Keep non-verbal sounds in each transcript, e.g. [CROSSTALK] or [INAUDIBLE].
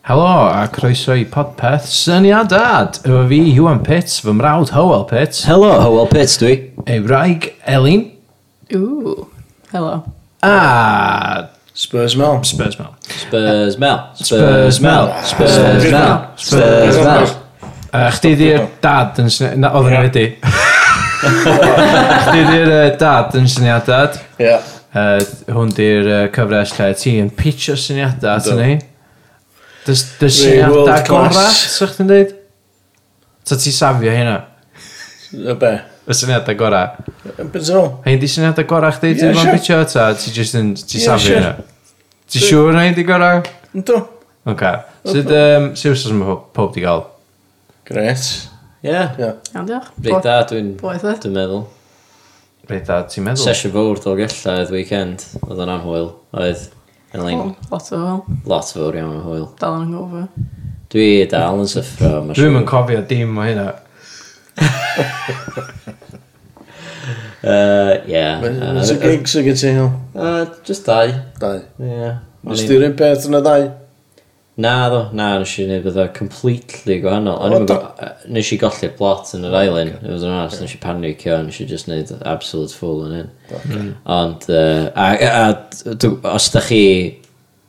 Helo a croeso i podpeth Syniad Dad. Efo fi, Iwan Pits, fy mrawd Howell Pits, Helo, Howell Pitts dwi. ei wraig Elin Ooh, hello. a Spurs Mel. Spurs Mel. Spurs Mel. Spurs Mel. Spurs Mel. Spurs Mel. Uh, chdi di'r dad yn syniad... Na, oedd yn wedi. Chdi di'r uh, dad yn syniad dad. Ie. Uh, hwn di'r uh, cyfres lle ti yn pitch o syniadau at ni. Dys dys Really syniadau world class. gorau, sa'ch ti'n dweud? Ta ti safio hynna? Y be? Y syniadau gorau. Beth yn ôl? Hein di syniadau gorau chdi? Ie, Ti'n fan sure. pitcho ta? Ti just yn... Ti Ie, safio sure. hynna? Ti siŵr na hyn di gorau? Ynddo. Ok. Sut um, siwsos mae pob- pob di gael? Gret. Ie. Ie. Iawn, diolch. Reit da, dwi'n... Boeth oedd. Dwi'n meddwl. Reit a ti'n meddwl? Sesio fawr ddol gella oedd weekend. Oedd o'n amhwyl. Oedd yn lein Oh, lot o fel. lot fawr iawn amhwyl. Dal yn gofio. Dwi dal yn syffro. ma' Dwi'n siŵr. yn cofio dim o hynna. Yy, Ie. Ys y Yy, gig sy'n gyda ti hyn? yy, Uh, Just dau. Dau. Ie. Ys di'r un peth yn y ddau? Na ddo, na, nes i wneud bethau completely gwahanol. O'n O, i'm yn da- gw- yy, Nes i golli'r plot yn yr ailen, it was an arse, nes i panic o, nes i just wneud absolute fool yn Mm. hyn. Ond, yy, a, a, a dw- os da chi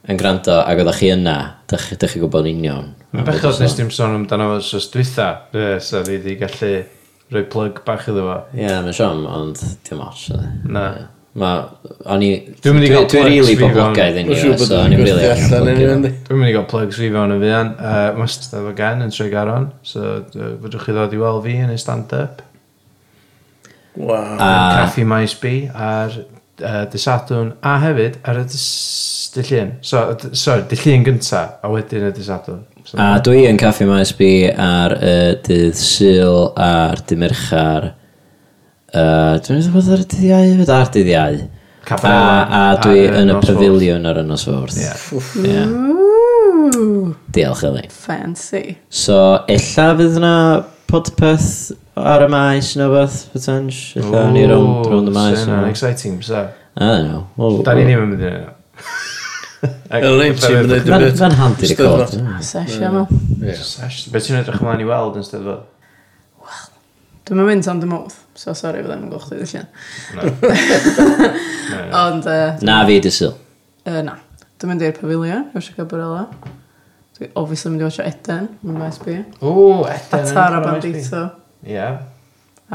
yn gwrando ac oeddech chi yna, da chi, da chi gwybod yn union. Mae bechod nes dim sôn amdano fo sos dwytha. Ie, So fi di gallu rhoi plug bach iddo fo. Ie, mae'n siom, ond dim ots. Na. Mae, o'n i... Dwi'n mynd i gael Dwi'n plugs rili fi fewn. boblogaidd yn Mae'n i, siŵr bod so o'n yn i'n gwerthu rili allan yn boblogaidd. ymwneud. Dwi'n mynd i gael plugs fi fewn yn fuan. Uh, Mae stand-up again yn trwy garon, so uh, fedrwch chi ddod i weld fi yn y stand-up. Waw. Uh, Caffi Maes B ar uh, dysadwn, a hefyd ar y dys- dillun. So, y d- sorry, dillun gynta, a wedyn y dysadwn. So, A dwi yn Caffi Maes B ar y dydd syl a'r dydd merchar. Uh, dwi'n meddwl bod ar y dydd iau hefyd ar dydd iau. Cafarela A, a dwi ar y yn y nos fawr. pavilion ar y nos fawrth. Ie. Ie. Ooh, Diolch Eli. fancy. So, ella fydd yna podpeth ar y maes neu beth, potens? Ella ni rownd rownd y maes. Sy'n yna. exciting, so. I don't know. Wel, Da ni ddim yn mynd i'n [LAUGHS] Elin, ti'n mynd mynd Ma'n y ma'n handi record. Steddfod. Sesio nhw. Be ti'n edrych ymlaen i weld yn steddfod? Dwi'n mynd am dy mowth, so sori fydda i'n gwchdi ddillion. [LAUGHS] Ond, yy, Na fi dydd syl. yy, na. Dwi'n mynd i'r pavilion, efo Chica Borella. Dwi obviously mynd i watcha Eden, yn maes bi. O, edan. A Tara Bandito. Ie.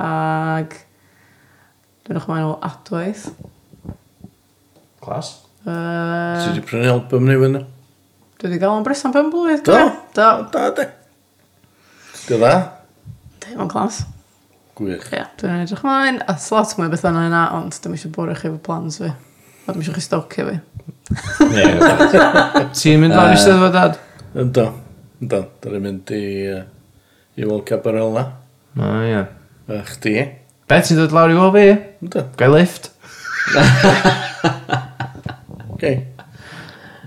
Ag... Dwi'n o'ch mae'n ôl adwaith. Clas. Yy, Ti wedi prynu album ni fyna? Dwi wedi gael o'n bres am pen blwydd. Do? cofio? Do. Da, de. Dy dda? Teimlo'n clas. Gwych. Ie, dwi'n edrych mlaen. A slot mwy beth yna yna, ond dwi'n eisiau bwrw chi fy plans fi. A dwi'n eisiau chi stocio fi. Ti'n mynd lawr i steddfod dad? Ynddo. Ynddo. Dyna mynd i... yy, I Wil Cabarella. O, ie. A chdi. Be ti'n dod lawr i weld fi? Ynddo. Gael lift? Gei.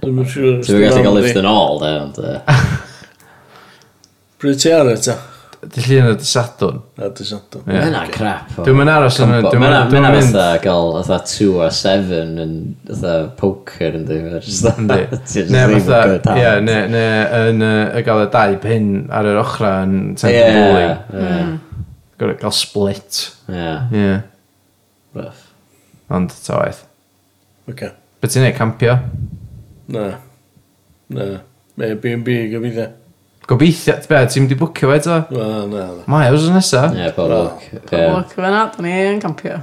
Dwi'n mynd siŵr... os Dwi'n dwi'n gallu iawn cael di. lift yn ôl, de, ond... yy, Pryd ti ar eto? Dillun y dysadwn. Na, dwi'n sadwn. Ie. Mae hynna'n crap. o. Dwi'm yn aros yn y- Combo. dwi'm yn- Mae hynna- dwi'm yn Mae mynd- hynna fatha gael fatha 2 a 7 yn fatha poker yn dweud. [LAUGHS] Yndi. Ne, fatha, ie, ne, ne, yn y gael y dau pin ar yr ochra yn Ie. Central Bowling. ie, Gwrdd gael split. Ie. Ie. Rough. Ond, ta waith. Oce. Be ti'n ei campio? Na. Na. Mae Airbnb gyfeithio. Gobeithio, be, ti'n mynd i bwcio fe eto? Na, na, na. Mae, os yn nesa? Ie, pob Wel, lwc. Yeah. Ie. Walk fyna, da ni yn campio.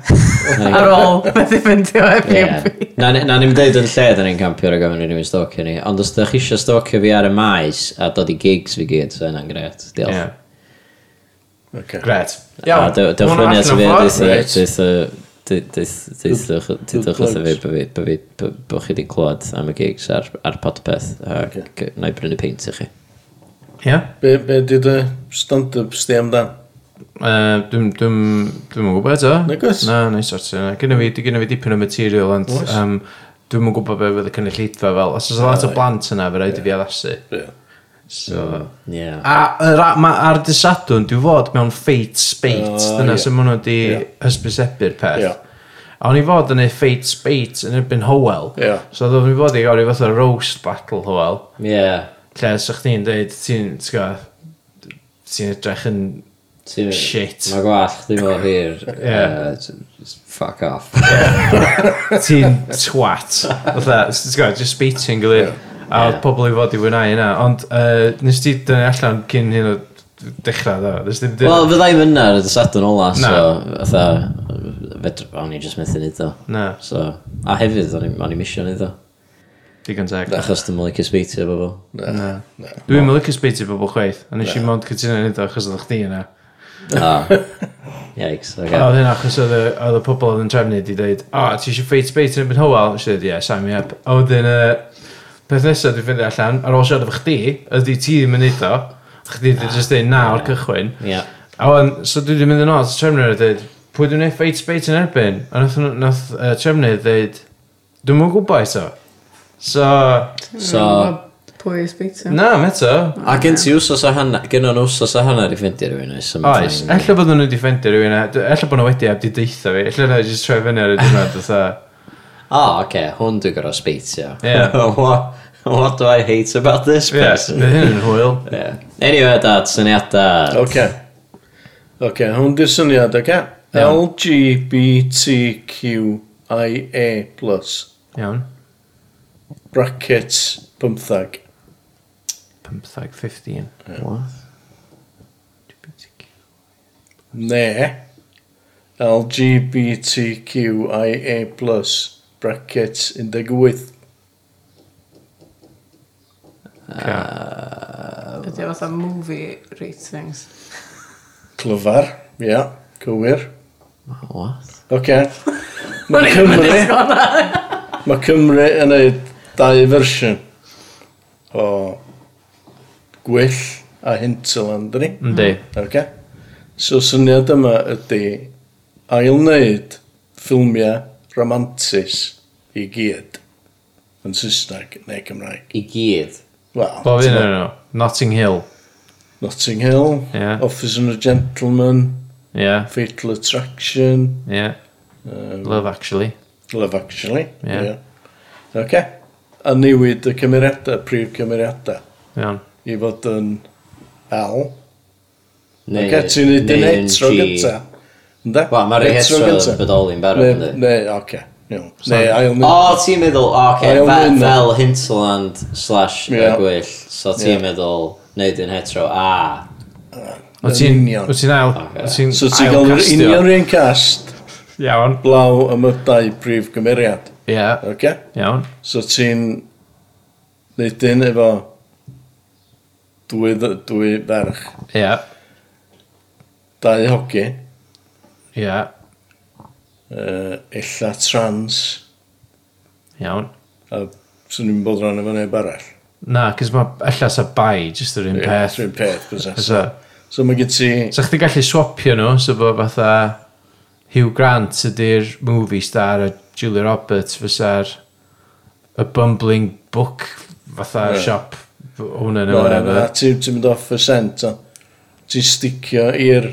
Ar ôl, beth i fynd i o Airbnb. Ie. Na ni- na ni'n deud yn lle dyn ni'n campio ar y gofyn i rywun stocio ni ond os ydych chi eisiau stocio fi ar y maes a dod i gigs fi gyd so yna'n gret Ie. diolch Oce. Gret. a Iawn. dy- dewch ma' hwnna allan fyny at o fi ffordd. Reit. deithwch deithwch wrtho fi plugs. bo fi- bo fi- bo- bo chi wedi clywed am y gigs ar, ar podpeth ac na i brynu peint i chi Ie. Be, be di dy stand-up sti amdan? Yy, Dwi'm dwi'm dwi'm yn gwybod eto. Nagwyt? Na, na i sortio hynna. Gynna fi, gynna fi dipyn o material, ond Oes. um, dwi'm yn gwybod be fydd y cynulleidfa fel. Os oes a lot o blant yna, fe rhaid i fi addasu. Ie. So... ie A yr a- ma- ar dysadwn, dwi'n fod mewn fate spate. O, Dyna ie. sy'n mwyn wedi Ie. hysbysebu'r peth. Ie. A o'n i fod yn ei fate spate yn erbyn Howell. Ie. So oedd o'n i fod i gael i fath o roast battle Howell. Ie. Lle, sa chdi'n dweud, ti'n, ti'n gwybod, ti'n edrych yn... Ti- Shit. Mae gwallt ddim o hir. Yeah. uh, j- just Fuck [LAUGHS] off. [LAUGHS] Ti'n twat. Fytha, s- ti'n gwybod, just beating gilydd. A oedd Ie. pobl i fod i wynau yna. Ond uh, nes ti dynnu allan cyn hyn o dechrau, ddo. Nes ti'n Wel, fydda i fyna ar y sadwn ola, so, Na. fatha, fedr, o'n i just methu nid o. Na, So, a hefyd, o'n i- o'n i misio nid o. digon teg. Achos dim yn licio speitio [LAUGHS] bobl. Na. Na. Na. Dwi'n mynd lycus beitio pobl chweith. A nes i mond cytuno nid o achos oedd chdi yna. Ah. Yikes, A okay. Oedd hynna achos oedd y, oedd y pobl oedd yn trefnu di dweud, o, oh, ti eisiau ffeit beit yn y byd hywel? Nes i dweud, ie, sign me up. A wedyn, y peth nesaf dwi'n ffeindio allan, ar ôl siarad efo chdi, ydy ti ddim yn neud o, chdi ddim jyst dweud na o'r cychwyn. Yeah. A wan, so dwi wedi mynd yn ôl, so trefnydd wedi dweud, pwy dwi'n neud ffeit beit yn erbyn? A nath, nhw- nath uh, trefnydd dweud, dwi'n mwyn gwybod eto. So, So- Pwy speak to? na, meto. A gen ti wsos a hanna, gen o'n wsos a hanna i ffindi rhywun oes. am Oes, time. ella bod nhw wedi ffeindio rhywun, a- d- ella bod nhw wedi abdi deitha fi, ella na i jyst troi fyny ar y diwrnod, fatha. O, oce, hwn dwi'n gorau speitio. Ie. [LAUGHS] What- What do I hate about this Ie, person? mae hyn yn hwyl. Yeah. Anyway, dad, syniadau. Oce. Oce, hwn di'r syniad, oce? LGBTQIA plus. Iawn. Brackets 15. 15, 15. Ne. LGBTQIA plus. Brackets 18. Ydy o fatha movie ratings. Clyfar. Ia, yeah, cywir. What? Oce. O'n Mae i'n mynd i Cymru... sgona. Mae Cymru yn neud dau fersiwn o gwyll a hinterland ni. Yndi. Okay. So syniad yma ydy ail wneud ffilmiau romantis i gyd yn Saesneg neu Gymraeg. I gyd. Wel, Bob un o'n nhw. Notting Hill. Notting Hill, Ie. Office and a Gentleman, Ie, Fatal Attraction, ie. Love Actually. Love Actually. Ie. Ie. Okay. A newid y cymeriadau, prif cymeriadau. Iawn. i fod yn L. Neu- Ac ti'n neud yn neu yn hetero G. gynta. Ynda? Wel, mae'r Hetero hetero gynta. bodoli'n barod, Ne, ynddi? ne, oce. iawn. Ne, ail O, mynd. ti'n meddwl, o, oce, Ail fe- mynd. fel Hinterland slash y Ie. gwyll, so Ie. ti'n meddwl, neud yn hetero, a, O ti'n... union. O ti'n ail... Ocê. O ti'n So ti'n cael yr ailcastio. union rhan cast Iawn. blaw am y dau brif gymeriad. Ie, Oce? iawn. So ti'n neud un efo dwy, dd- dwy ferch, Ie, dau hogi, ie, uh, illa trans, iawn. a swn i'n bod rhan efo neb arall. Na, cys mae ella sa bai, jyst yr un peth. Rhywun peth, bysa. Fysa. So mae gen ti... Sa chdi gallu swapio nhw, so bod fatha... Hugh Grant ydy'r movie star a Julia Roberts fysa'r... Y bumbling book fatha Ie. siop hwnna Na, neu whatever. na, Ti'n ti mynd off y sent, o. Ti'n sticio i'r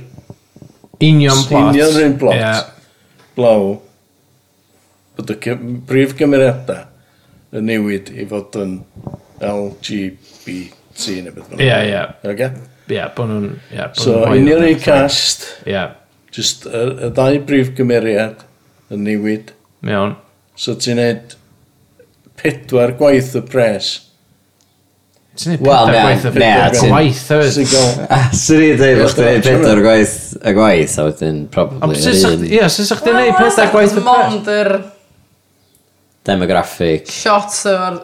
Union plot. union rhywun blot. Ie, Blaw. Bod y cy- brif gymeriadau yn newid i fod yn LGBT neu beth Ie, bynnag. ie. Oce? ie, bod nhw'n... Ie, bod So, nhw'n union i hoyw. cast, Ie, just y, y ddau brif gymeriad yn newid. iawn. So ti'n neud pedwar gwaith y pres. Ti'n neud Wel, pedwar na, gwaith o na, ffitio ti'n- gwaith Sy'n hefyd. gael... a, [LAUGHS] swn i'n dweud Ie, bod chdi'n neud sure. pedwar gwaith y gwaith, a wedyn, Ond probably, sy'n yr sa'ch... un Ie, sy'n sa'ch di neud pedwar gwaith o ffitio? Mond yr demographic. shots o'r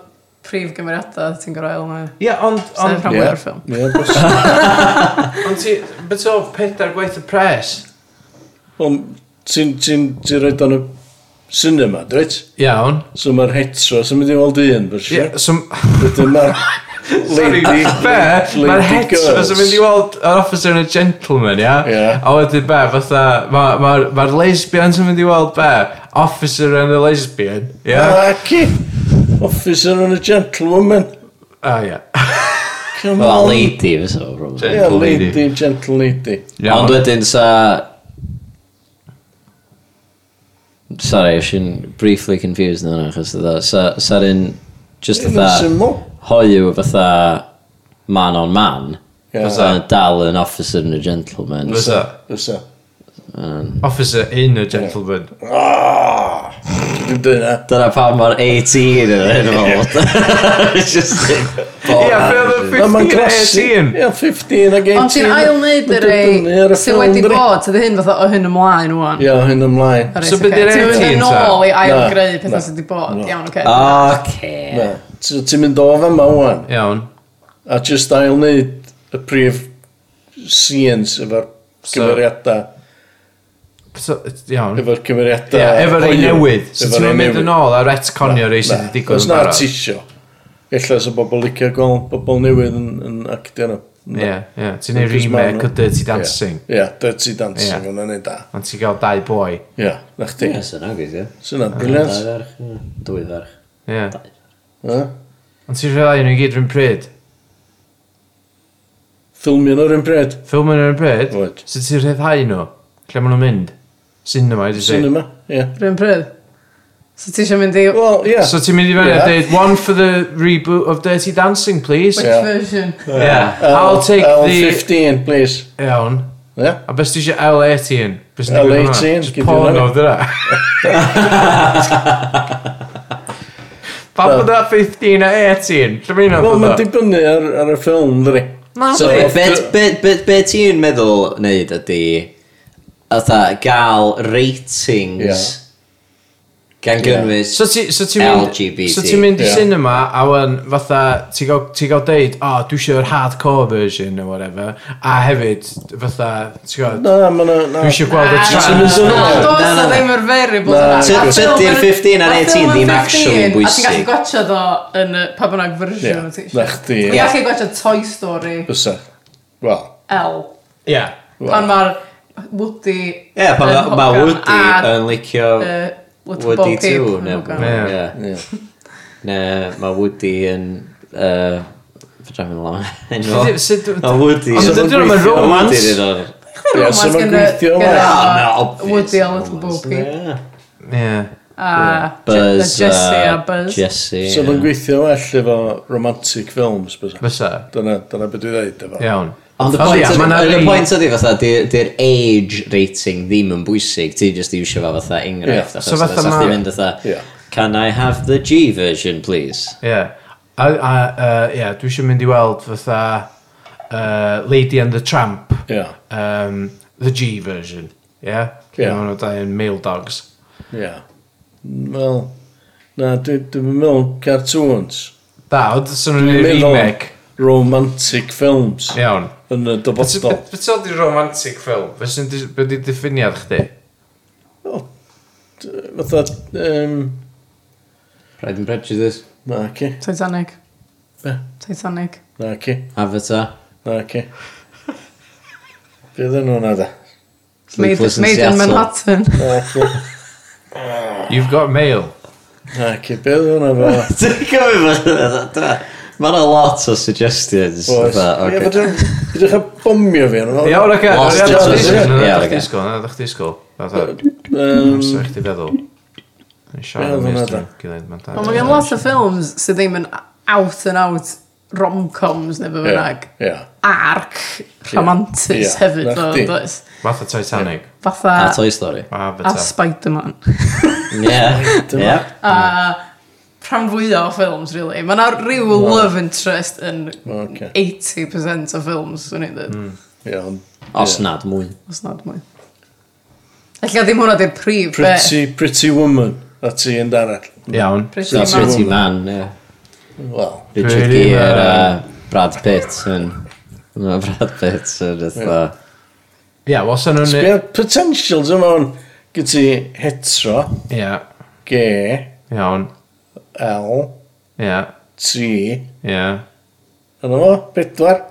prif gymeriadau ti'n gorau ail na. Ie, ond... Sef Ond rhan fwy o'r ffilm. Ie, bos. [LAUGHS] ond ti... Beth o pedwar gwaith o pres? Wel, ti'n ti, ti rhaid o'n y cinema, dweud? Iawn. So mae'r hetero, sy'n mynd i weld un, Ie, fysi? so... Wedyn mae'r [LAUGHS] Sorry, lady... be? Mae'r heteros yn mynd i weld yr officer yn y gentleman, ia? Ie. A wedyn be, fatha... Mae'r ma, ma ma'r lesbians yn mynd i weld be? Officer yn y lesbian, ia? Aki! Officer and a gentlewoman. A, ia. Come Wel, on. lady, fysa fo, probably. Ie, Gentle lady. lady, gentle lady. Ond wedyn sa... Sorry, I shouldn't briefly confused na hwnna, achos dda, sa, sa'r un, just Yn dda, syml. hoiw fatha man on man, Ie. fysa yn dal yn officer and a gentleman. Fysa. Fysa. Officer in a gentleman. Ah! Dwi'n dweud na. Dyna pam mae'r 18 yn [LAUGHS] involved. It's just... Ie, fe oedd y Na, ma'n 15 a crosi- 18. Ie, 15 ag 18. Ond ti'n ail wneud y rei sydd wedi bod, sydd hyn fatha o hyn ymlaen wan. Ie, hyn ymlaen. O reit, So be' ocê. 'di'r Ti'n mynd 18 ta? yn ôl i ail Na, greu na. pethau sydd wedi bod. Na. Iawn, Ah. oce. OK. Na. So Ti'n mynd o fe ma wan. Iawn. A just ail wneud y prif scenes efo'r So- cymeriadau. So, iawn. Efo'r cymeriadau. Ie, efo'r ei newydd. So Efo'r ti'n un mynd yn newydd. ôl a retconio rei sydd Na, wedi digwydd Os yn na barod. tisio. Ella sy'n bobl licio gweld bobl newydd yn, yn actio nhw. Na. Ie, ie. Ti'n neud Achos ma'n- remake o Dirty Dancing. Ie, yeah, Dirty Dancing, Ie. yeah. hwnna'n ei da. Ond ti'n cael dau boi. Ie, yeah, na chdi. Yes, yna gweithio. Sy'n na, Dau briliant. ferch, mm, dwy ferch. Ie. Ie. Ond ti'n rhoi nhw i gyd rhywun pryd? Ffilmio nhw'r un bryd. Ffilmio nhw'n pryd? Oed. So ti'n rhyddhau nhw? Lle maen nhw'n mynd? Cinema, i di Sy'n si. yma, ie. Rwy'n pryd. So ti eisiau mynd i... Wel, ie. So ti'n mynd i fewn a Ie. dweud, one for the reboot of Dirty Dancing, please. Which Ie. version? Yeah. L- I'll take the... L15, please. Iawn. Ie. A beth ti eisiau L18? Beth sy'n digwydd hwnna? L18, Just gyd i porno, hwnna. dyna. [LAUGHS] Pam bod 15 a 18? Lle mae'n Wel, mae'n hwnna? dibynnu ar, ar y ffilm, dwi. Na, So, dydi. be- be- be- be ti'n meddwl wneud ydi Ytha gael ratings Gan gynnwys So ti- so ti'n mynd... LGBT. So ti'n mynd i Ie. cinema a wan fatha ti'n gael ti gael deud o oh, dwi eisiau'r hardcore version or whatever a hefyd fatha ti'n gael Na, mae'n... dwi eisiau gweld y Ah, Ti'n mynd trans yn Na, ôl. does Na, na, na na. ddim yr variable Na, yna. Ty- A tydi'r ffilm yn- 15 a'r a ffilm 18 ddim yn actually 15, bwysig. A ti'n gallu gwacha ddo yn y pa bynnag Ie, fersiwn wyt ti na eisiau. chdi. Ti'n ie. gallu gwacha Toy Story Bysa. Wel, L. ia Pan mae'r Woody... Ie, pan yn ma- ma hogan Woody a, yn licio yy, Woody Woody Bob Pip 2 yn neu hogan. Ie. Ie. ie. Ne, mae Woody yn... Uh, Fydra fi'n lawn. [LAUGHS] Sut- sut- Mae Woody... Ond dydyn nhw'n romance. Ie, Romance so mae'n gyda- gweithio. gyda- wel. Ah, Oh, Woody a Little Bo Peep. ia A Buzz. Je- a Jesse uh, a Buzz. Jesse. ie. So mae'n gweithio well efo romantic films, bysa. fysa Dyna, dyna beth dwi'n dweud efo. iawn Ond y Ond pwynt ia, ma' 'na ydy- y rei- pwynt ydi fatha, di- di'r age rating ddim yn bwysig, ti jyst iwsio fo fatha enghraifft, Ie. achos So fatha fatha ma- chdi mynd fatha, Ie. can I have the G version, please? ia a a yy, ia dwi eisiau mynd i weld fatha uh, Lady and the Tramp Ie. um, the G version ia Ie. ia maen nhw dau yn male dogs Ie. Wel, na, dwi- dwi'n meddwl cartoons. da oedd sy'n nhw'n ei Meddwl remake romantic films iawn yn y dyfodol. Beth sy'n di romantic ffilm? Beth sy'n di diffiniad chdi? Fatha, um, Pride and Prejudice, na ci, Titanic. Be? Titanic. na ci, Avatar, na ci. Bydd yn hwnna da. Made, Sleepless in made in Seattle. Manhattan. Na ci, You've got mail. na ci, bydd yn hwnna da. Dwi'n gofio fo. [LAUGHS] Mae yna lot o suggestions. Oes. fatha, Ie, ocê. fydwch ydych yn bomio fi yn Iawn, oce. Lost Dwi'n in adael Translation. disgwyl. Ie, Dwi'n adael oce. disgwyl. Dwi'n adael disgwyl. Dwi'n Um, adael chdi feddwl. Dwi'n Ie, siarad am hwnna ysdyn. da. Gilydd, mae'n Ond mae gen lot o ffilms sydd ddim yn out and out rom-coms neu beth ie, bynnag. Ie. Arc romantis Ie, hefyd na o chdi. does. Fath o Titanic. A Fatha Ah, Toy Story. A a beta. Spider-Man. Ie. Ie. Rhan fwyaf o ffilms, really. Mae yna rhyw love interest yn Oce. 80% o ffilms, swn i'n dweud. Ie, ond... Os ie. nad mwy. Os nad mwy. Alla ddim hwnna di'r prif beth. Pretty, pretty woman. A ti yn darall. Iawn. Pretty Na man. Pretty Man, ie. Wel, Richard Pretty Gere Man. a Brad Pitt yn... Mae Brad Pitt yn eitha... Ia, was yn hwn... Sbio potentials yma hwn gyd ti hetero, Ia. gay, Iawn. L, Ia. T, Ia. yna fo, [LAUGHS] bedwar.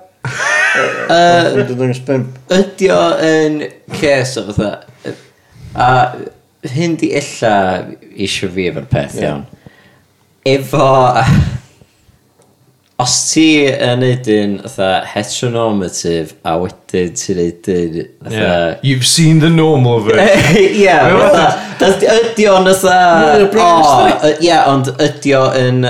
Yy... Dwi'n dangos pimp. Ydi o yn ces o fatha... yy, A hyn di illa eisiau fi efo'r peth Ie. iawn. Efo... Os ti yn neudyn fatha heteronormative a wedyn ti'n neudyn Ia. fatha... You've seen the normal [LAUGHS] version. Ie, fatha... Ydi o'n fatha... Mwy o Britney o, Spears. y- Ie, ond ydi o yn...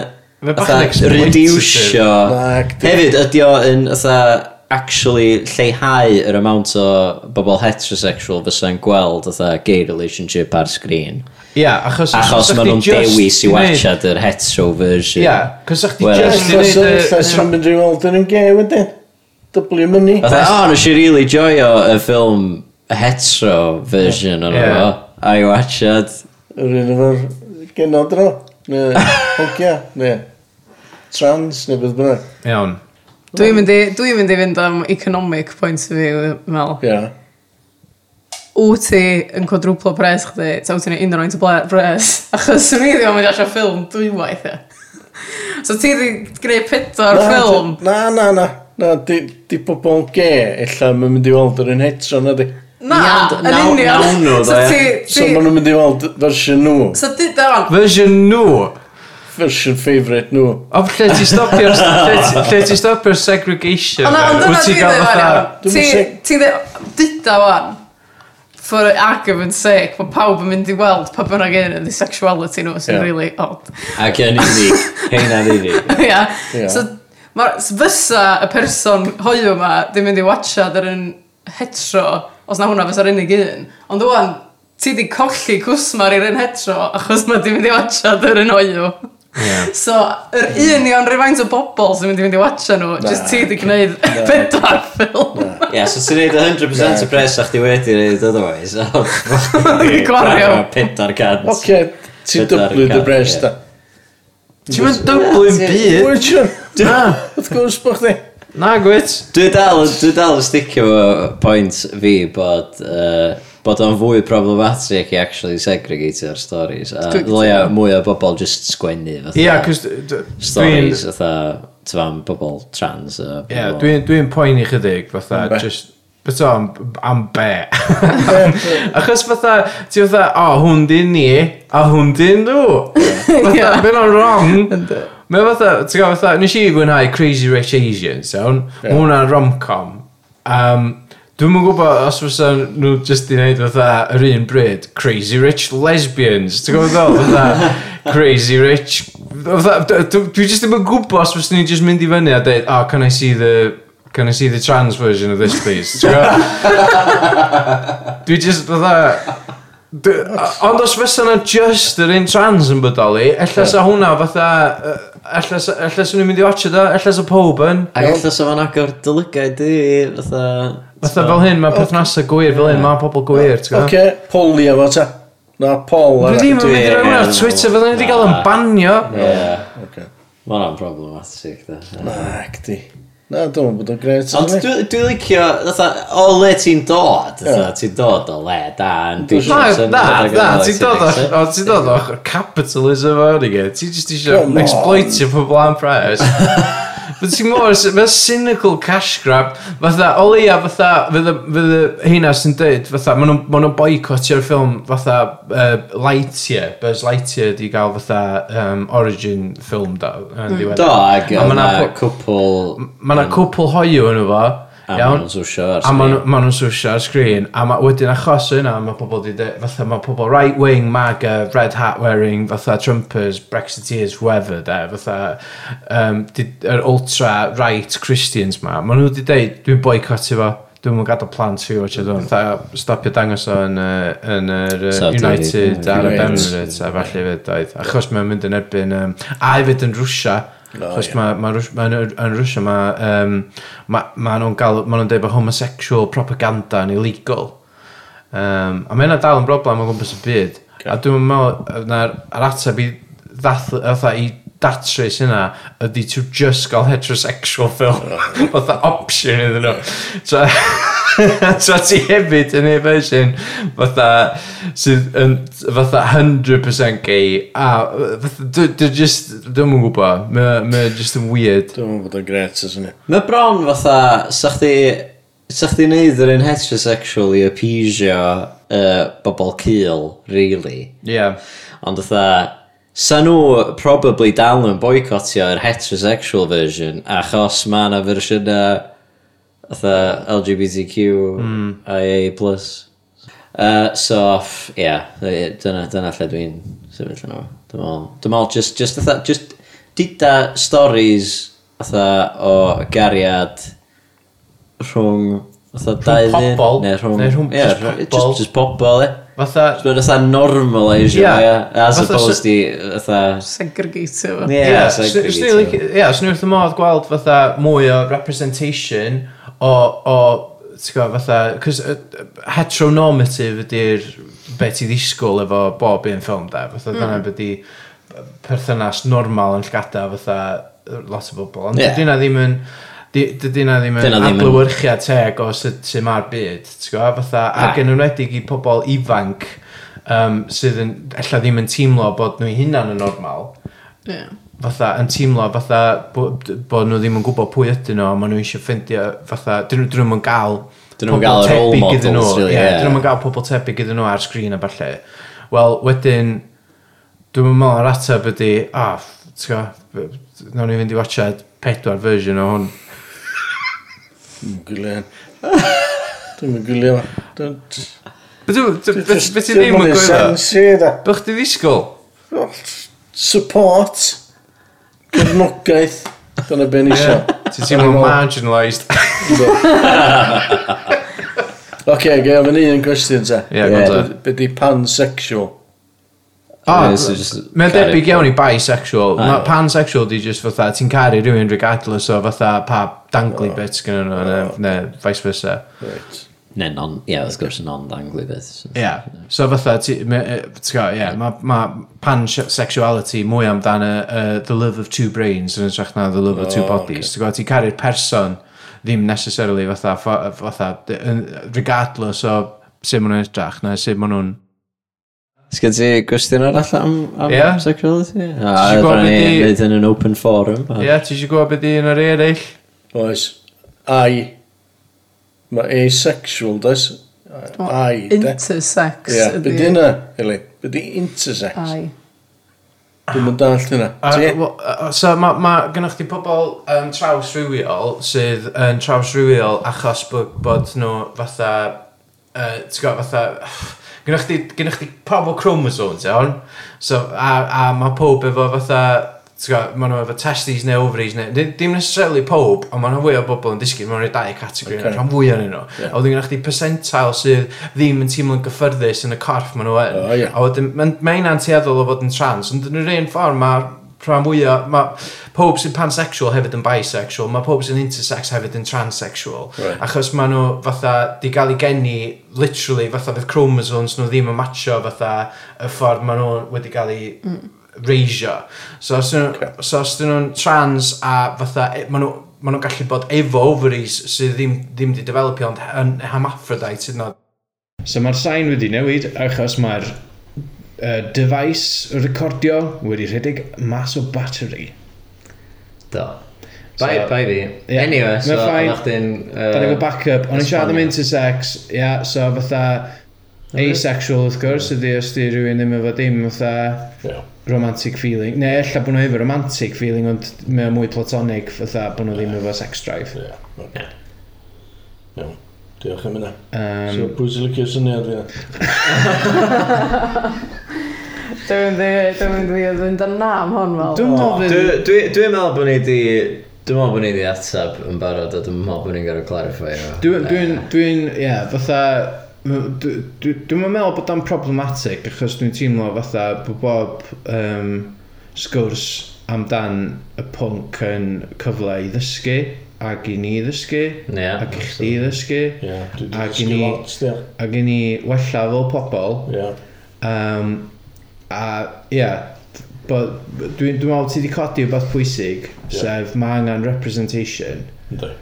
Mae bach yn Fatha, exploitative. reducio. Na, acti- Hefyd, ydi o yn, fatha, actually lleihau yr amount o bobl heterosexual fysa'n gweld, fatha, gay relationship ar sgrin. Ia, achos... Achos chdi maen nhw'n just dewis i di neud- wachad yr hetero version. Ia, cos o'ch di Wel, just i Achos neud ella y... sy'n mynd i weld yn ymge wedyn. Dyblu mynd Fatha, o, nes i really joio y ffilm hetero version o'n Ie. efo. A i wachad. Yr un efo'r genodro. Ne, [LAUGHS] hogia. Ne, trans neu beth bynnag. Iawn. Dwi'n mynd i, dwi'n mynd i fynd am economic point of view, Mel. Ia. Wyt ti yn codrwplo pres chdi, ta wyt ti'n neud unrhyw o'r pres? Achos swn i ddim yn mynd i allan ffilm dwywaith e. So ti di gwneud pedwar Na, ffilm. d- Na, na, na. Na, di, di pobl yn ge, illa ma'n mynd i weld yr un hetero na di. Na, Naw- yn naw- naw union. nhw, So dde. ti, So ti, maen nhw'n mynd i weld fersiwn nhw, so di, dawn, Version nhw. fersiwn favourite nhw. Ond lle ti stopio'r [LAUGHS] lle ti- lle ti stopio'r segregation? Ond ond dyna Wyt dwi'n ti'n gael dweud fan iawn. fatha- Dwi'm yn sig- Ti- Ti'n dweud, dyda fan, for argument's sake, mae pawb yn mynd i weld pa bynnag un yn sexuality nhw sy'n Ie. really odd. Ac yn unig. [LAUGHS] Heina unig. [LAUGHS] Ia. Ie. So, ma'r- s- fysa y person hoiw yma ddim mynd i watchad yr un hetero, os na hwnna fysa'r unig un. Ond dwi'n ti di colli cwsmar i'r un hetero achos mae di mynd i watchad yr un hoiw. Ie. [LAUGHS] So, yr union rhywfaint o bobl sy'n mynd i fynd i watcha nhw, Na, jyst ti di gwneud [LAUGHS] bedwar ffilm. Ie, so ti'n neud 100% y pres a'ch ti wedi neud otherwise. [LAUGHS] Dwi'n gwario. Pedar cant. Oce, ti'n Pedwar dyblu dy can, bres ie. da. Ti'n mynd dyblu'n byd? Wyt ti'n? Na, Wrth gwrs bo chdi. na gwyt. Dwi dal, dwi dal yn sticio fo pwynt fi bod, uh, bod o'n fwy problematic i actually segregatio'r stories. A Dwi'n cytuno. ddoia mwy o bobl just sgwennu. fatha Ia, cos d- d- dwi'n... Stories fatha, tyfam, bobl trans. a Ie, bobl- dwi'n dwi'n poeni chydig, fatha, Be? just... Beth o, am- am [LAUGHS] be? [LAUGHS] Achos fatha, ti fatha, o, hwn di ni, a hwn di [LAUGHS] nhw. Fatha, Ie. beth o'n wrong. Mae fatha, ti'n gael fatha, nes i fwynhau Crazy Rich Asians, iawn? Ie. Yeah. Mae hwnna'n rom-com. Um, Dwi'm yn gwybod os fysa nhw jyst i wneud fatha yr un bryd Crazy Rich Lesbians Ti'n gwybod ddol? Fatha Crazy Rich fatha, d- d- Dwi jyst ddim yn gwybod os fysa ni'n jyst mynd i fyny a dweud Oh, can I see the Can I see the trans version of this please? Ti'n gwybod? Dwi jyst fatha d- Ond os fysa na just yr un trans yn bodoli Ella sa hwnna fatha yy, Ella sa- ella swn i'n mynd i watch o Ella sa pob yn Ac allai sef o'n agor dylygau di, fatha... Fatha fel hyn, mae perthnasau gwir, fel hyn, mae pobl gwir, ti'n gwybod? Oce, poli efo ta. Na, pol Dwi ar ddim yn Dwi- mynd i roi hwnna ar ie, Twitter, fydden ni wedi cael yn na. banio. Ie, Oce. mae hwnna'n problematic, da. Na, gdi. Na, dwi'n meddwl bod o'n gret. Ond isn't it? dwi dwi licio, fatha, o le ti'n dod, fatha, ti'n dod o le, da, yn byd. Na, na, na, ti'n dod o, o, ti'n dod o capitalism o'n i gyd. Ti'n just eisiau Come on. exploitio pobl am pres. But ti'n mor, mae cynical cash grab, fatha, o leia, fatha, fydd y- fydd y hynna sy'n dweud, fatha, maen nhw'n- maen nhw'n boicotio'r ffilm, fatha, uh, Lightyear, Buzz Lightyear, di gael fatha um, origin film da, yn ddiwedd. Do, ac A ma' yna na cwpl... Mae yna cwpl hoiw yn efo, A ma' iawn? nhw'n swsio ar A ma' sgrin. nhw- ma' nhw'n swsio ar sgrin, a ma, wedyn achos yna, mae pobl di dweud, fatha mae pobl right wing, MAGA, red hat wearing, fatha Trumpers, Brexiteers, whoever, de, fatha, um, di, yr ultra right Christians ma, ma' nhw di dweud, dwi'n boicotio fo, dwi'n mwyn gadael plant fi o chedwn, fatha stopio dangos o yn, yy, yn yr yy, Saudi United, ar y Arabia. Emirates, a falle fyd, oedd, achos mae'n mynd yn erbyn, um, a hefyd yn Rwsia, O, Achos ie. mae ma Rws- ma yn, yn Rwsia mae um, ma, ma nhw'n gael, ma nhw'n dweud bod homosexual propaganda yn illegal. Um, a mae yna dal yn broblem o gwmpas y byd. A dwi'n meddwl na'r ar ateb i ddath, fatha i datrys yna ydy to just gael heterosexual film. [LAUGHS] Fatha option iddyn nhw. So, [LAUGHS] so ti hefyd yn ei version fatha sydd yn fatha 100% gay a fatha dwi- dwi just dwi'n mwyn gwybod mae'n just yn weird Dwi'n meddwl bod o'n gret, ysyn ni. Mae bron fatha, sa chdi... Sa chdi neud yr un heterosexual i appeasio uh, bobl cil, really. yeah Ond fatha, sa nhw probably dal yn boicotio yr heterosexual version achos mae yna fersiynau fatha LGBTQ Hmm. mm. IA+. Uh, so, ff- ie, yeah, dyna, dyna lle dwi'n sefyll yno. Dwi'n meddwl, dwi'n meddwl, just, just, fatha, just dida stories atha o gariad rhwng atha dau ddyn pobol, neu rhwng neu rhwng ie, jyst rhwng- pobol. just, just pobol e Fatha, Dwi'n atha normalisio, Ie. ie, as Fatha opposed i atha... segregatio fo. Ie, Ie, so swn- swn i'n licio- ie, swn i'n wrth y modd gweld fatha mwy o representation o, o ti'n gwybod, fatha, cos uh, heteronormative ydy'r beth i ddisgwyl efo bob un ffilm da, fatha mm. dyna beth i perthynas normal yn llgada fatha yy, lot o bobl, ond Ie. yeah. dyna ddim yn dy- dy- dyna ddim yn Dyna ddim yn- adlywyrchiad teg o sut sy mae'r byd, ti'n gwybod, fatha, ac Na. yn enwedig i pobl ifanc um, sydd yn, ella ddim yn teimlo bod nhw'i hunan yn normal, Ie. fatha yn teimlo fatha bo- d- bod nhw ddim yn gwybod pwy ydyn nhw a maen nhw eisiau ffeindio fatha dyn nhw, dyn nhw yn gael Dyn nhw'm yn gael y role models, really, ie, ie. dyn nhw yn gael pobl tebyg iddyn nhw ar sgrin a falle wel wedyn dwi'n meddwl ar ateb ydi a oh, ti'n go nawn ni fynd i watchad pedwar version o hwn Dwi'n [LAUGHS] gwylio hyn. Dwi'n gwylio hyn. Dwi'n beth ti ddim yn gwybod gwylio? bych ti ddisgwyl Support. Cefnogaeth. Dyna be ni eisiau. ti'n teimlo marginalised Oce, gael fan un gwestiwn te. Ie, go on te. Be di pansexual? Oh, Ie, so just Mae'n carry debyg iawn i bisexual. Ah, Ma, ie. pansexual di just fatha, ti'n caru rhywun regardless o fatha pa dangly bits gyda nhw, neu, neu vice versa. Right. Ne, non, ie, wrth gwrs, non-dangly beth. so- Ie. Yeah. So fatha, ti- me- yy, ti'n gwybod, ie, mae ma pansexuality mwy amdan y y the love of two brains yn ytrach na the love of two O, bodies. Ti'n gwybod, ti'n caru'r person ddim necessarily fatha, fo- fatha, dy- yn- regardless o sut maen nhw'n ytrach, na sut maen nhw'n... Sgyn ti gwestiwn arall am, am Ie. sexuality? A Ti'n gwbod rhaid ni be' 'di- wneud yn an open forum. a- Ie, ti eisiau gwybod beth i'n yr eraill? Oes. Ai. Mae asexual, does? Ai. de. Intersex. Ie, ydi- be di hynna, Eli? Be di intersex? Ai. Dwi'n mynd dall hynna. A- Ti? wel, a- a- So mae ma, gennych chi pobl um, trawsrywiol sydd yn trawsrywiol achos bod, bod nhw fatha, uh, ti'n gwybod, fatha, gennych chi, gennych chi pobl chromosomes, iawn? So, a, a mae pob efo fatha, ti'n gwybod, maen nhw efo testes neu ovaries neu, di- dim necessarily pob, ond maen nhw fwy o bobl yn disgyn, maen nhw'n dau categori, Ocê. okay. rhan fwy o'n nhw. Yeah. A wedyn gennych chi percentile sydd ddim yn teimlo'n gyffyrddus yn y corff maen nhw yn. O, ie. A wedyn, mae'n ma hynna'n tueddol o fod yn trans, ond yn yr un ffordd mae rhan fwyaf, mae pob sy'n pansexual hefyd yn bisexual, mae pob sy'n intersex hefyd yn transsexual. Right. Achos maen nhw fatha, di gael ei geni, literally, fatha fydd chromosomes nhw ddim yn matcho fatha y ffordd maen nhw wedi gael ei mm. reisio. So os dyn nhw- so os dyn nhw'n trans a fatha, e- maen nhw, maen nhw'n gallu bod efo ovaries sydd ddim, ddim wedi developio, ond yn hermaphrodite sydd nad. So mae'r sain wedi newid achos mae'r uh, device recordio wedi rhedeg mas o battery. Do. Bai, So- bai fi. Ie. Anyway, so, Mae'n fine. ond chdi'n... Da ni efo backup, o'n i siarad am intersex, ia, yeah, so fatha Oh, asexual wrth gwrs, ydy os di rhywun ddim efo dim fatha Ie. romantic feeling, neu ella bod nhw efo romantic feeling, ond mae o mwy platonic fatha bod nhw ddim efo sex drive. Ie, oce. Iawn. Diolch am hynna. So, Um, pwy sy'n lycio syniad fi? Dwi'n mynd i- dwi'n mynd i fynd yn nam hon Oh, fel. Dwi'n meddwl fydd... Dwi'n dwi, dwi meddwl bod ni di... Dwi'n meddwl bod ni di atab yn barod a dwi'n meddwl bod ni'n gorau clarify o. Dwi'n, dwi'n, dwi'n, ie, fatha, m- dw- dw- dwi'n meddwl bod o'n problematic achos dwi'n teimlo fatha bod bob um, sgwrs amdan y pwnc yn cyfle i ddysgu ac i ni ddysgu Ie. ac i chdi ddysgu Ie, dwi A wedi gen dysgu i- lot, still. ac i ni wella fel pobl Ie. um, a ie yeah, dwi'n dwi dwi'n meddwl ti wedi codi rhywbeth pwysig Ie. sef mae angen representation Ynddi.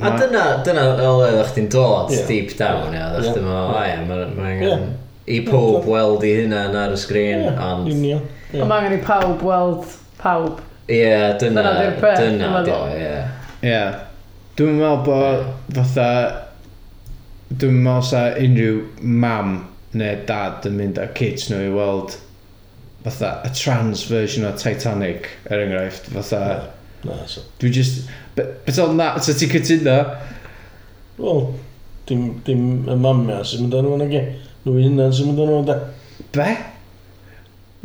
A dyna, dyna o le ddech chi'n dod Ie. deep down, ia. Ddech Ie. chi'n meddwl, o ia, mae ma angen... Ie. I pob weld i hynna'n ar y sgrin, Ie, ond... union. Ie. Ond Mae angen i pawb weld pawb. Ie, dyna, Dyna di'r peth, dyna dwi'n do, meddwl. ie. Ie. Yeah. Dwi'n meddwl bod fatha... Dwi'n meddwl sa unrhyw mam neu dad yn mynd â kids nhw i weld fatha y trans version o Titanic er enghraifft. Fatha... Na, so. Dwi just... be- Beth oedd na? So ti'n cytuno? Wel, dim, dim y mamia sy'n mynd â nhw yn y ge. Nhw i hunan sy'n mynd â nhw yn da. Be?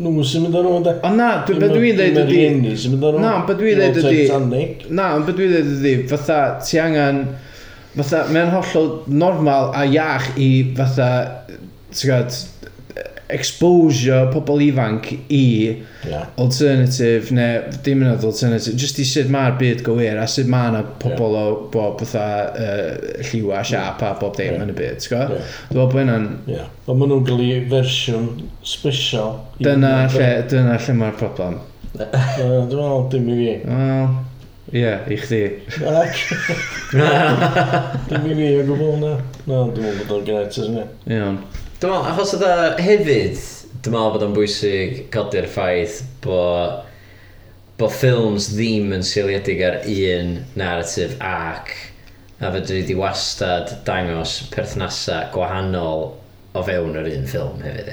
Nhw'n sy'n mynd o'n o'n da. O na, dwi- be dwi'n dweud ydy... Nhw'n sy'n mynd o'n Na, be dwi'n dweud ydy... Na, ond be dwi'n dweud ydy, fatha, ti angen... Fatha, mae'n hollol normal a iach i fatha, ti'n gwybod, exposure pobl ifanc i Ia. alternative, neu dim yn oedd alternative, just i sut mae'r byd gywir a sut mae yna pobl o bob fatha uh, lliw a siap a bob dim yn y byd, ti'n gwybod? Ie. Dwi'n meddwl bod hynna'n... Ia. Ond maen nhw'n gael ei fersiwn special. i- Dyna lle, dyna lle mae'r problem. Yy, Dwi'n meddwl dim i fi. Wel, ie, i chdi. [LAUGHS] Ac- Dim i fi o gwbl na. Na, dwi'n meddwl bod o'n gret ys ni. Iawn. Dwi'n meddwl, achos yda hefyd, dwi'n meddwl bod o'n bwysig codi'r ffaith bod bo ffilms ddim yn seiliedig ar un narrative arc a fydri di wastad dangos perthnasau gwahanol o fewn yr un ffilm hefyd.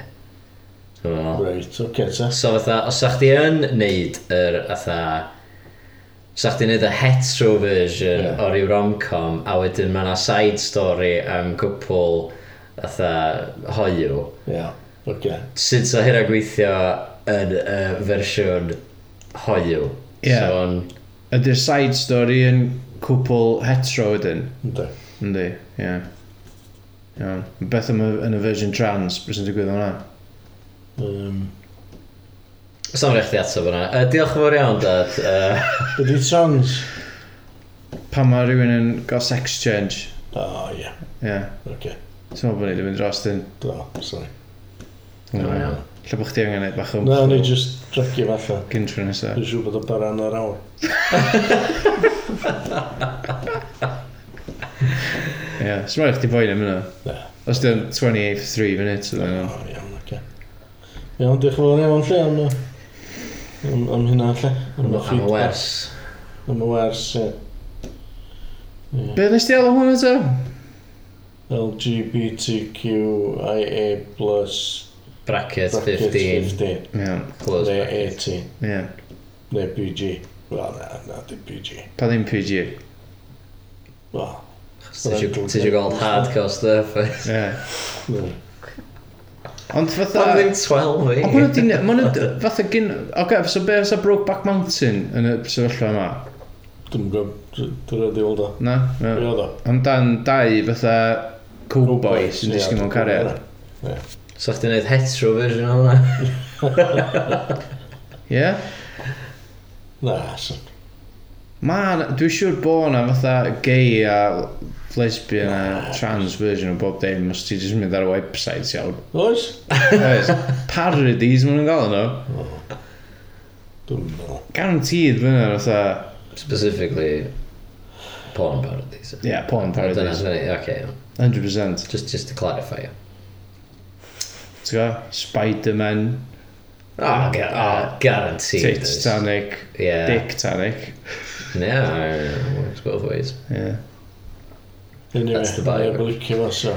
Dwi'n meddwl. Reit, oce ta. So fatha, os sa chdi yn neud yr fatha... Sa chdi'n neud y hetero version Ie. yeah. o'r ryw rom-com a wedyn mae yna side story am cwpl fatha hoiw. Ia. Oce. Sut sa hynna gweithio yn y fersiwn hoiw? Ie. So on, Ydy'r side story yn cwpl hetero ydyn, Ynddi. yndi, ie. Iawn. Beth am y, yn y version trans, beth sy'n digwydd hwnna? Yym, Os am rech di ato fyna. Uh, diolch yn fawr iawn, dad. Uh, Be di trans? Pan mae rhywun yn gael sex change, O, ie. ie. Oce. Ti'n meddwl bod ni wedi mynd dros dyn? Do, sorry. Lle bod chdi angen neud bach o... Na, ni just dracu falle. Cyn tro nesaf. Dwi'n siŵr bod o baran ar awr. Ie. Swn rhaid chdi boi'n am hynna. Na. Os dyn 28-3 minutes ydyn nhw. O, iawn, oce. Iawn, diolch yn fawr iawn lle am, y- am, am hynna lle. am y y feedback. wers. Am y wers, ie. Be nes di alw hwnna to? LGBTQIA plus Bracket brackets 15. 15 Iawn. Close neu bracket. 18 Ie. neu PG wel na, na di PG Pa ddim PG. wel Ti eisiau gweld hardcore stuff? [LAUGHS] eh? Ie. na. Ond Pan fatha... ddim 12 i. Ond bod nhw'n... Ma' nhw... Fatha gyn... Oce, so be fysa Brokeback Mountain yn y sefyllfa yma? dwi'n gwybod dwi'n rhaid i weld o Na? Be Na. oedd o? Amdan dau fatha cowboy sy'n Ie, disgyn mewn dwi'n cariad. gwbod So chdi'n neud hetero version o hwnna? Ie? hwnna. na so- Ma' 'na- Dwi'n siŵr bod na fatha gay a lesbian a trans version o bob dim os ti jyst yn mynd ar y website iawn. oes Oes, Parodies maen nhw'n gael nhw. dwi'n meddwl Garantid fyna fatha... Specifically, porn parodies. Ie, yeah, porn Dyna, parodies. dyna, oce. iawn. 100%. Just, just to clarify. Ti'n gwybod? Spider-Man, Ah, Oh, ga- oh guaranteed. Tits Tanic, Yeah. Dick Tanic. Yeah, works both ways. Ie. anyway That's the bio. neb yn licio fo so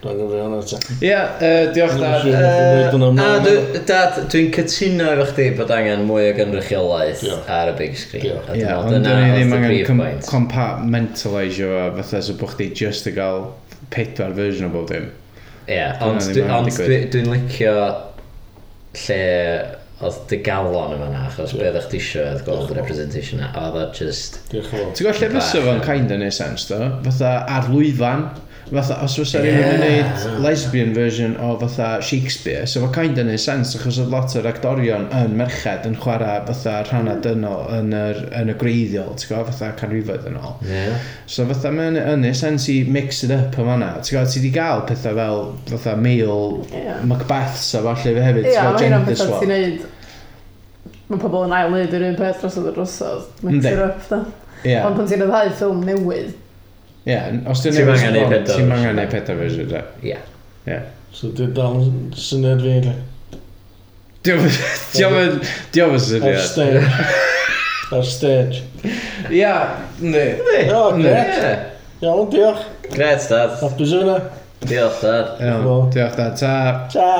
dwi'n gwybod hwnna ta Ie, yy, diolch Dwi'n dad. siŵr uh, bod fi'n neud hwnna a mlaen. dwi- dad, dwi'n cytuno efo chdi bod angen mwy o gynrychiolaeth Ie. ar y big screen. Ie. A dwi'n Ie, meddwl ond dyna dyn ni oedd ddim the angen brief com- point. compartmentalisio fo fatha so bod chdi just yn gael pedwar version o bob dim. Ie, Dyna ond ddim dwi- angen ond digwydd. dwi- dwi'n licio lle oedd dy galon yma na, achos Ie. be ddech ti isio oedd gweld y representation na, a oedd o just... diolch yn fawr Ti'n gwybod lle fysa fo'n kind of neud sens do? Fatha ar lwyfan. Fatha, os fysa rhywun yn neud lesbian version o fatha Shakespeare, so fo kind of neud sens achos oedd lot o'r actorion yn merched yn chwarae fatha rhannau dynol yn, yr, yn y greiddiol, ti'n gwybod, fatha canrifoedd yn ôl. Ie. So fatha mae'n yn neud sens i mix it up yma na. Ti'n gwybod, ti di gael pethau fel fatha Mael, Ie. Macbeths a falle fe hefyd, ti'n Ie, mae gwybod, hynna'n gender beth swap. ti'n neud. Mae pobl yn ail neud yr un peth drosodd y drosodd. Mix Yndi. it up, da. Ie, Ond pan ti'n rhyddhau ffilm newydd, ie, os ti'n Ti'm neud angen neud sbon, pedwar ti'n version. angen neud pethau version, da. Ie. Ie. so dwi'n dal yn syniad fi le Diolch yn... Diolch yn ar syniad. stage ar stage Ia, ne. o gret Ie. iawn diolch Gret, dad. hapus hwnna Diolch, dad. Iawn, diolch da, ta. ta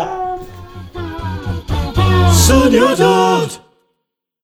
Syniadad!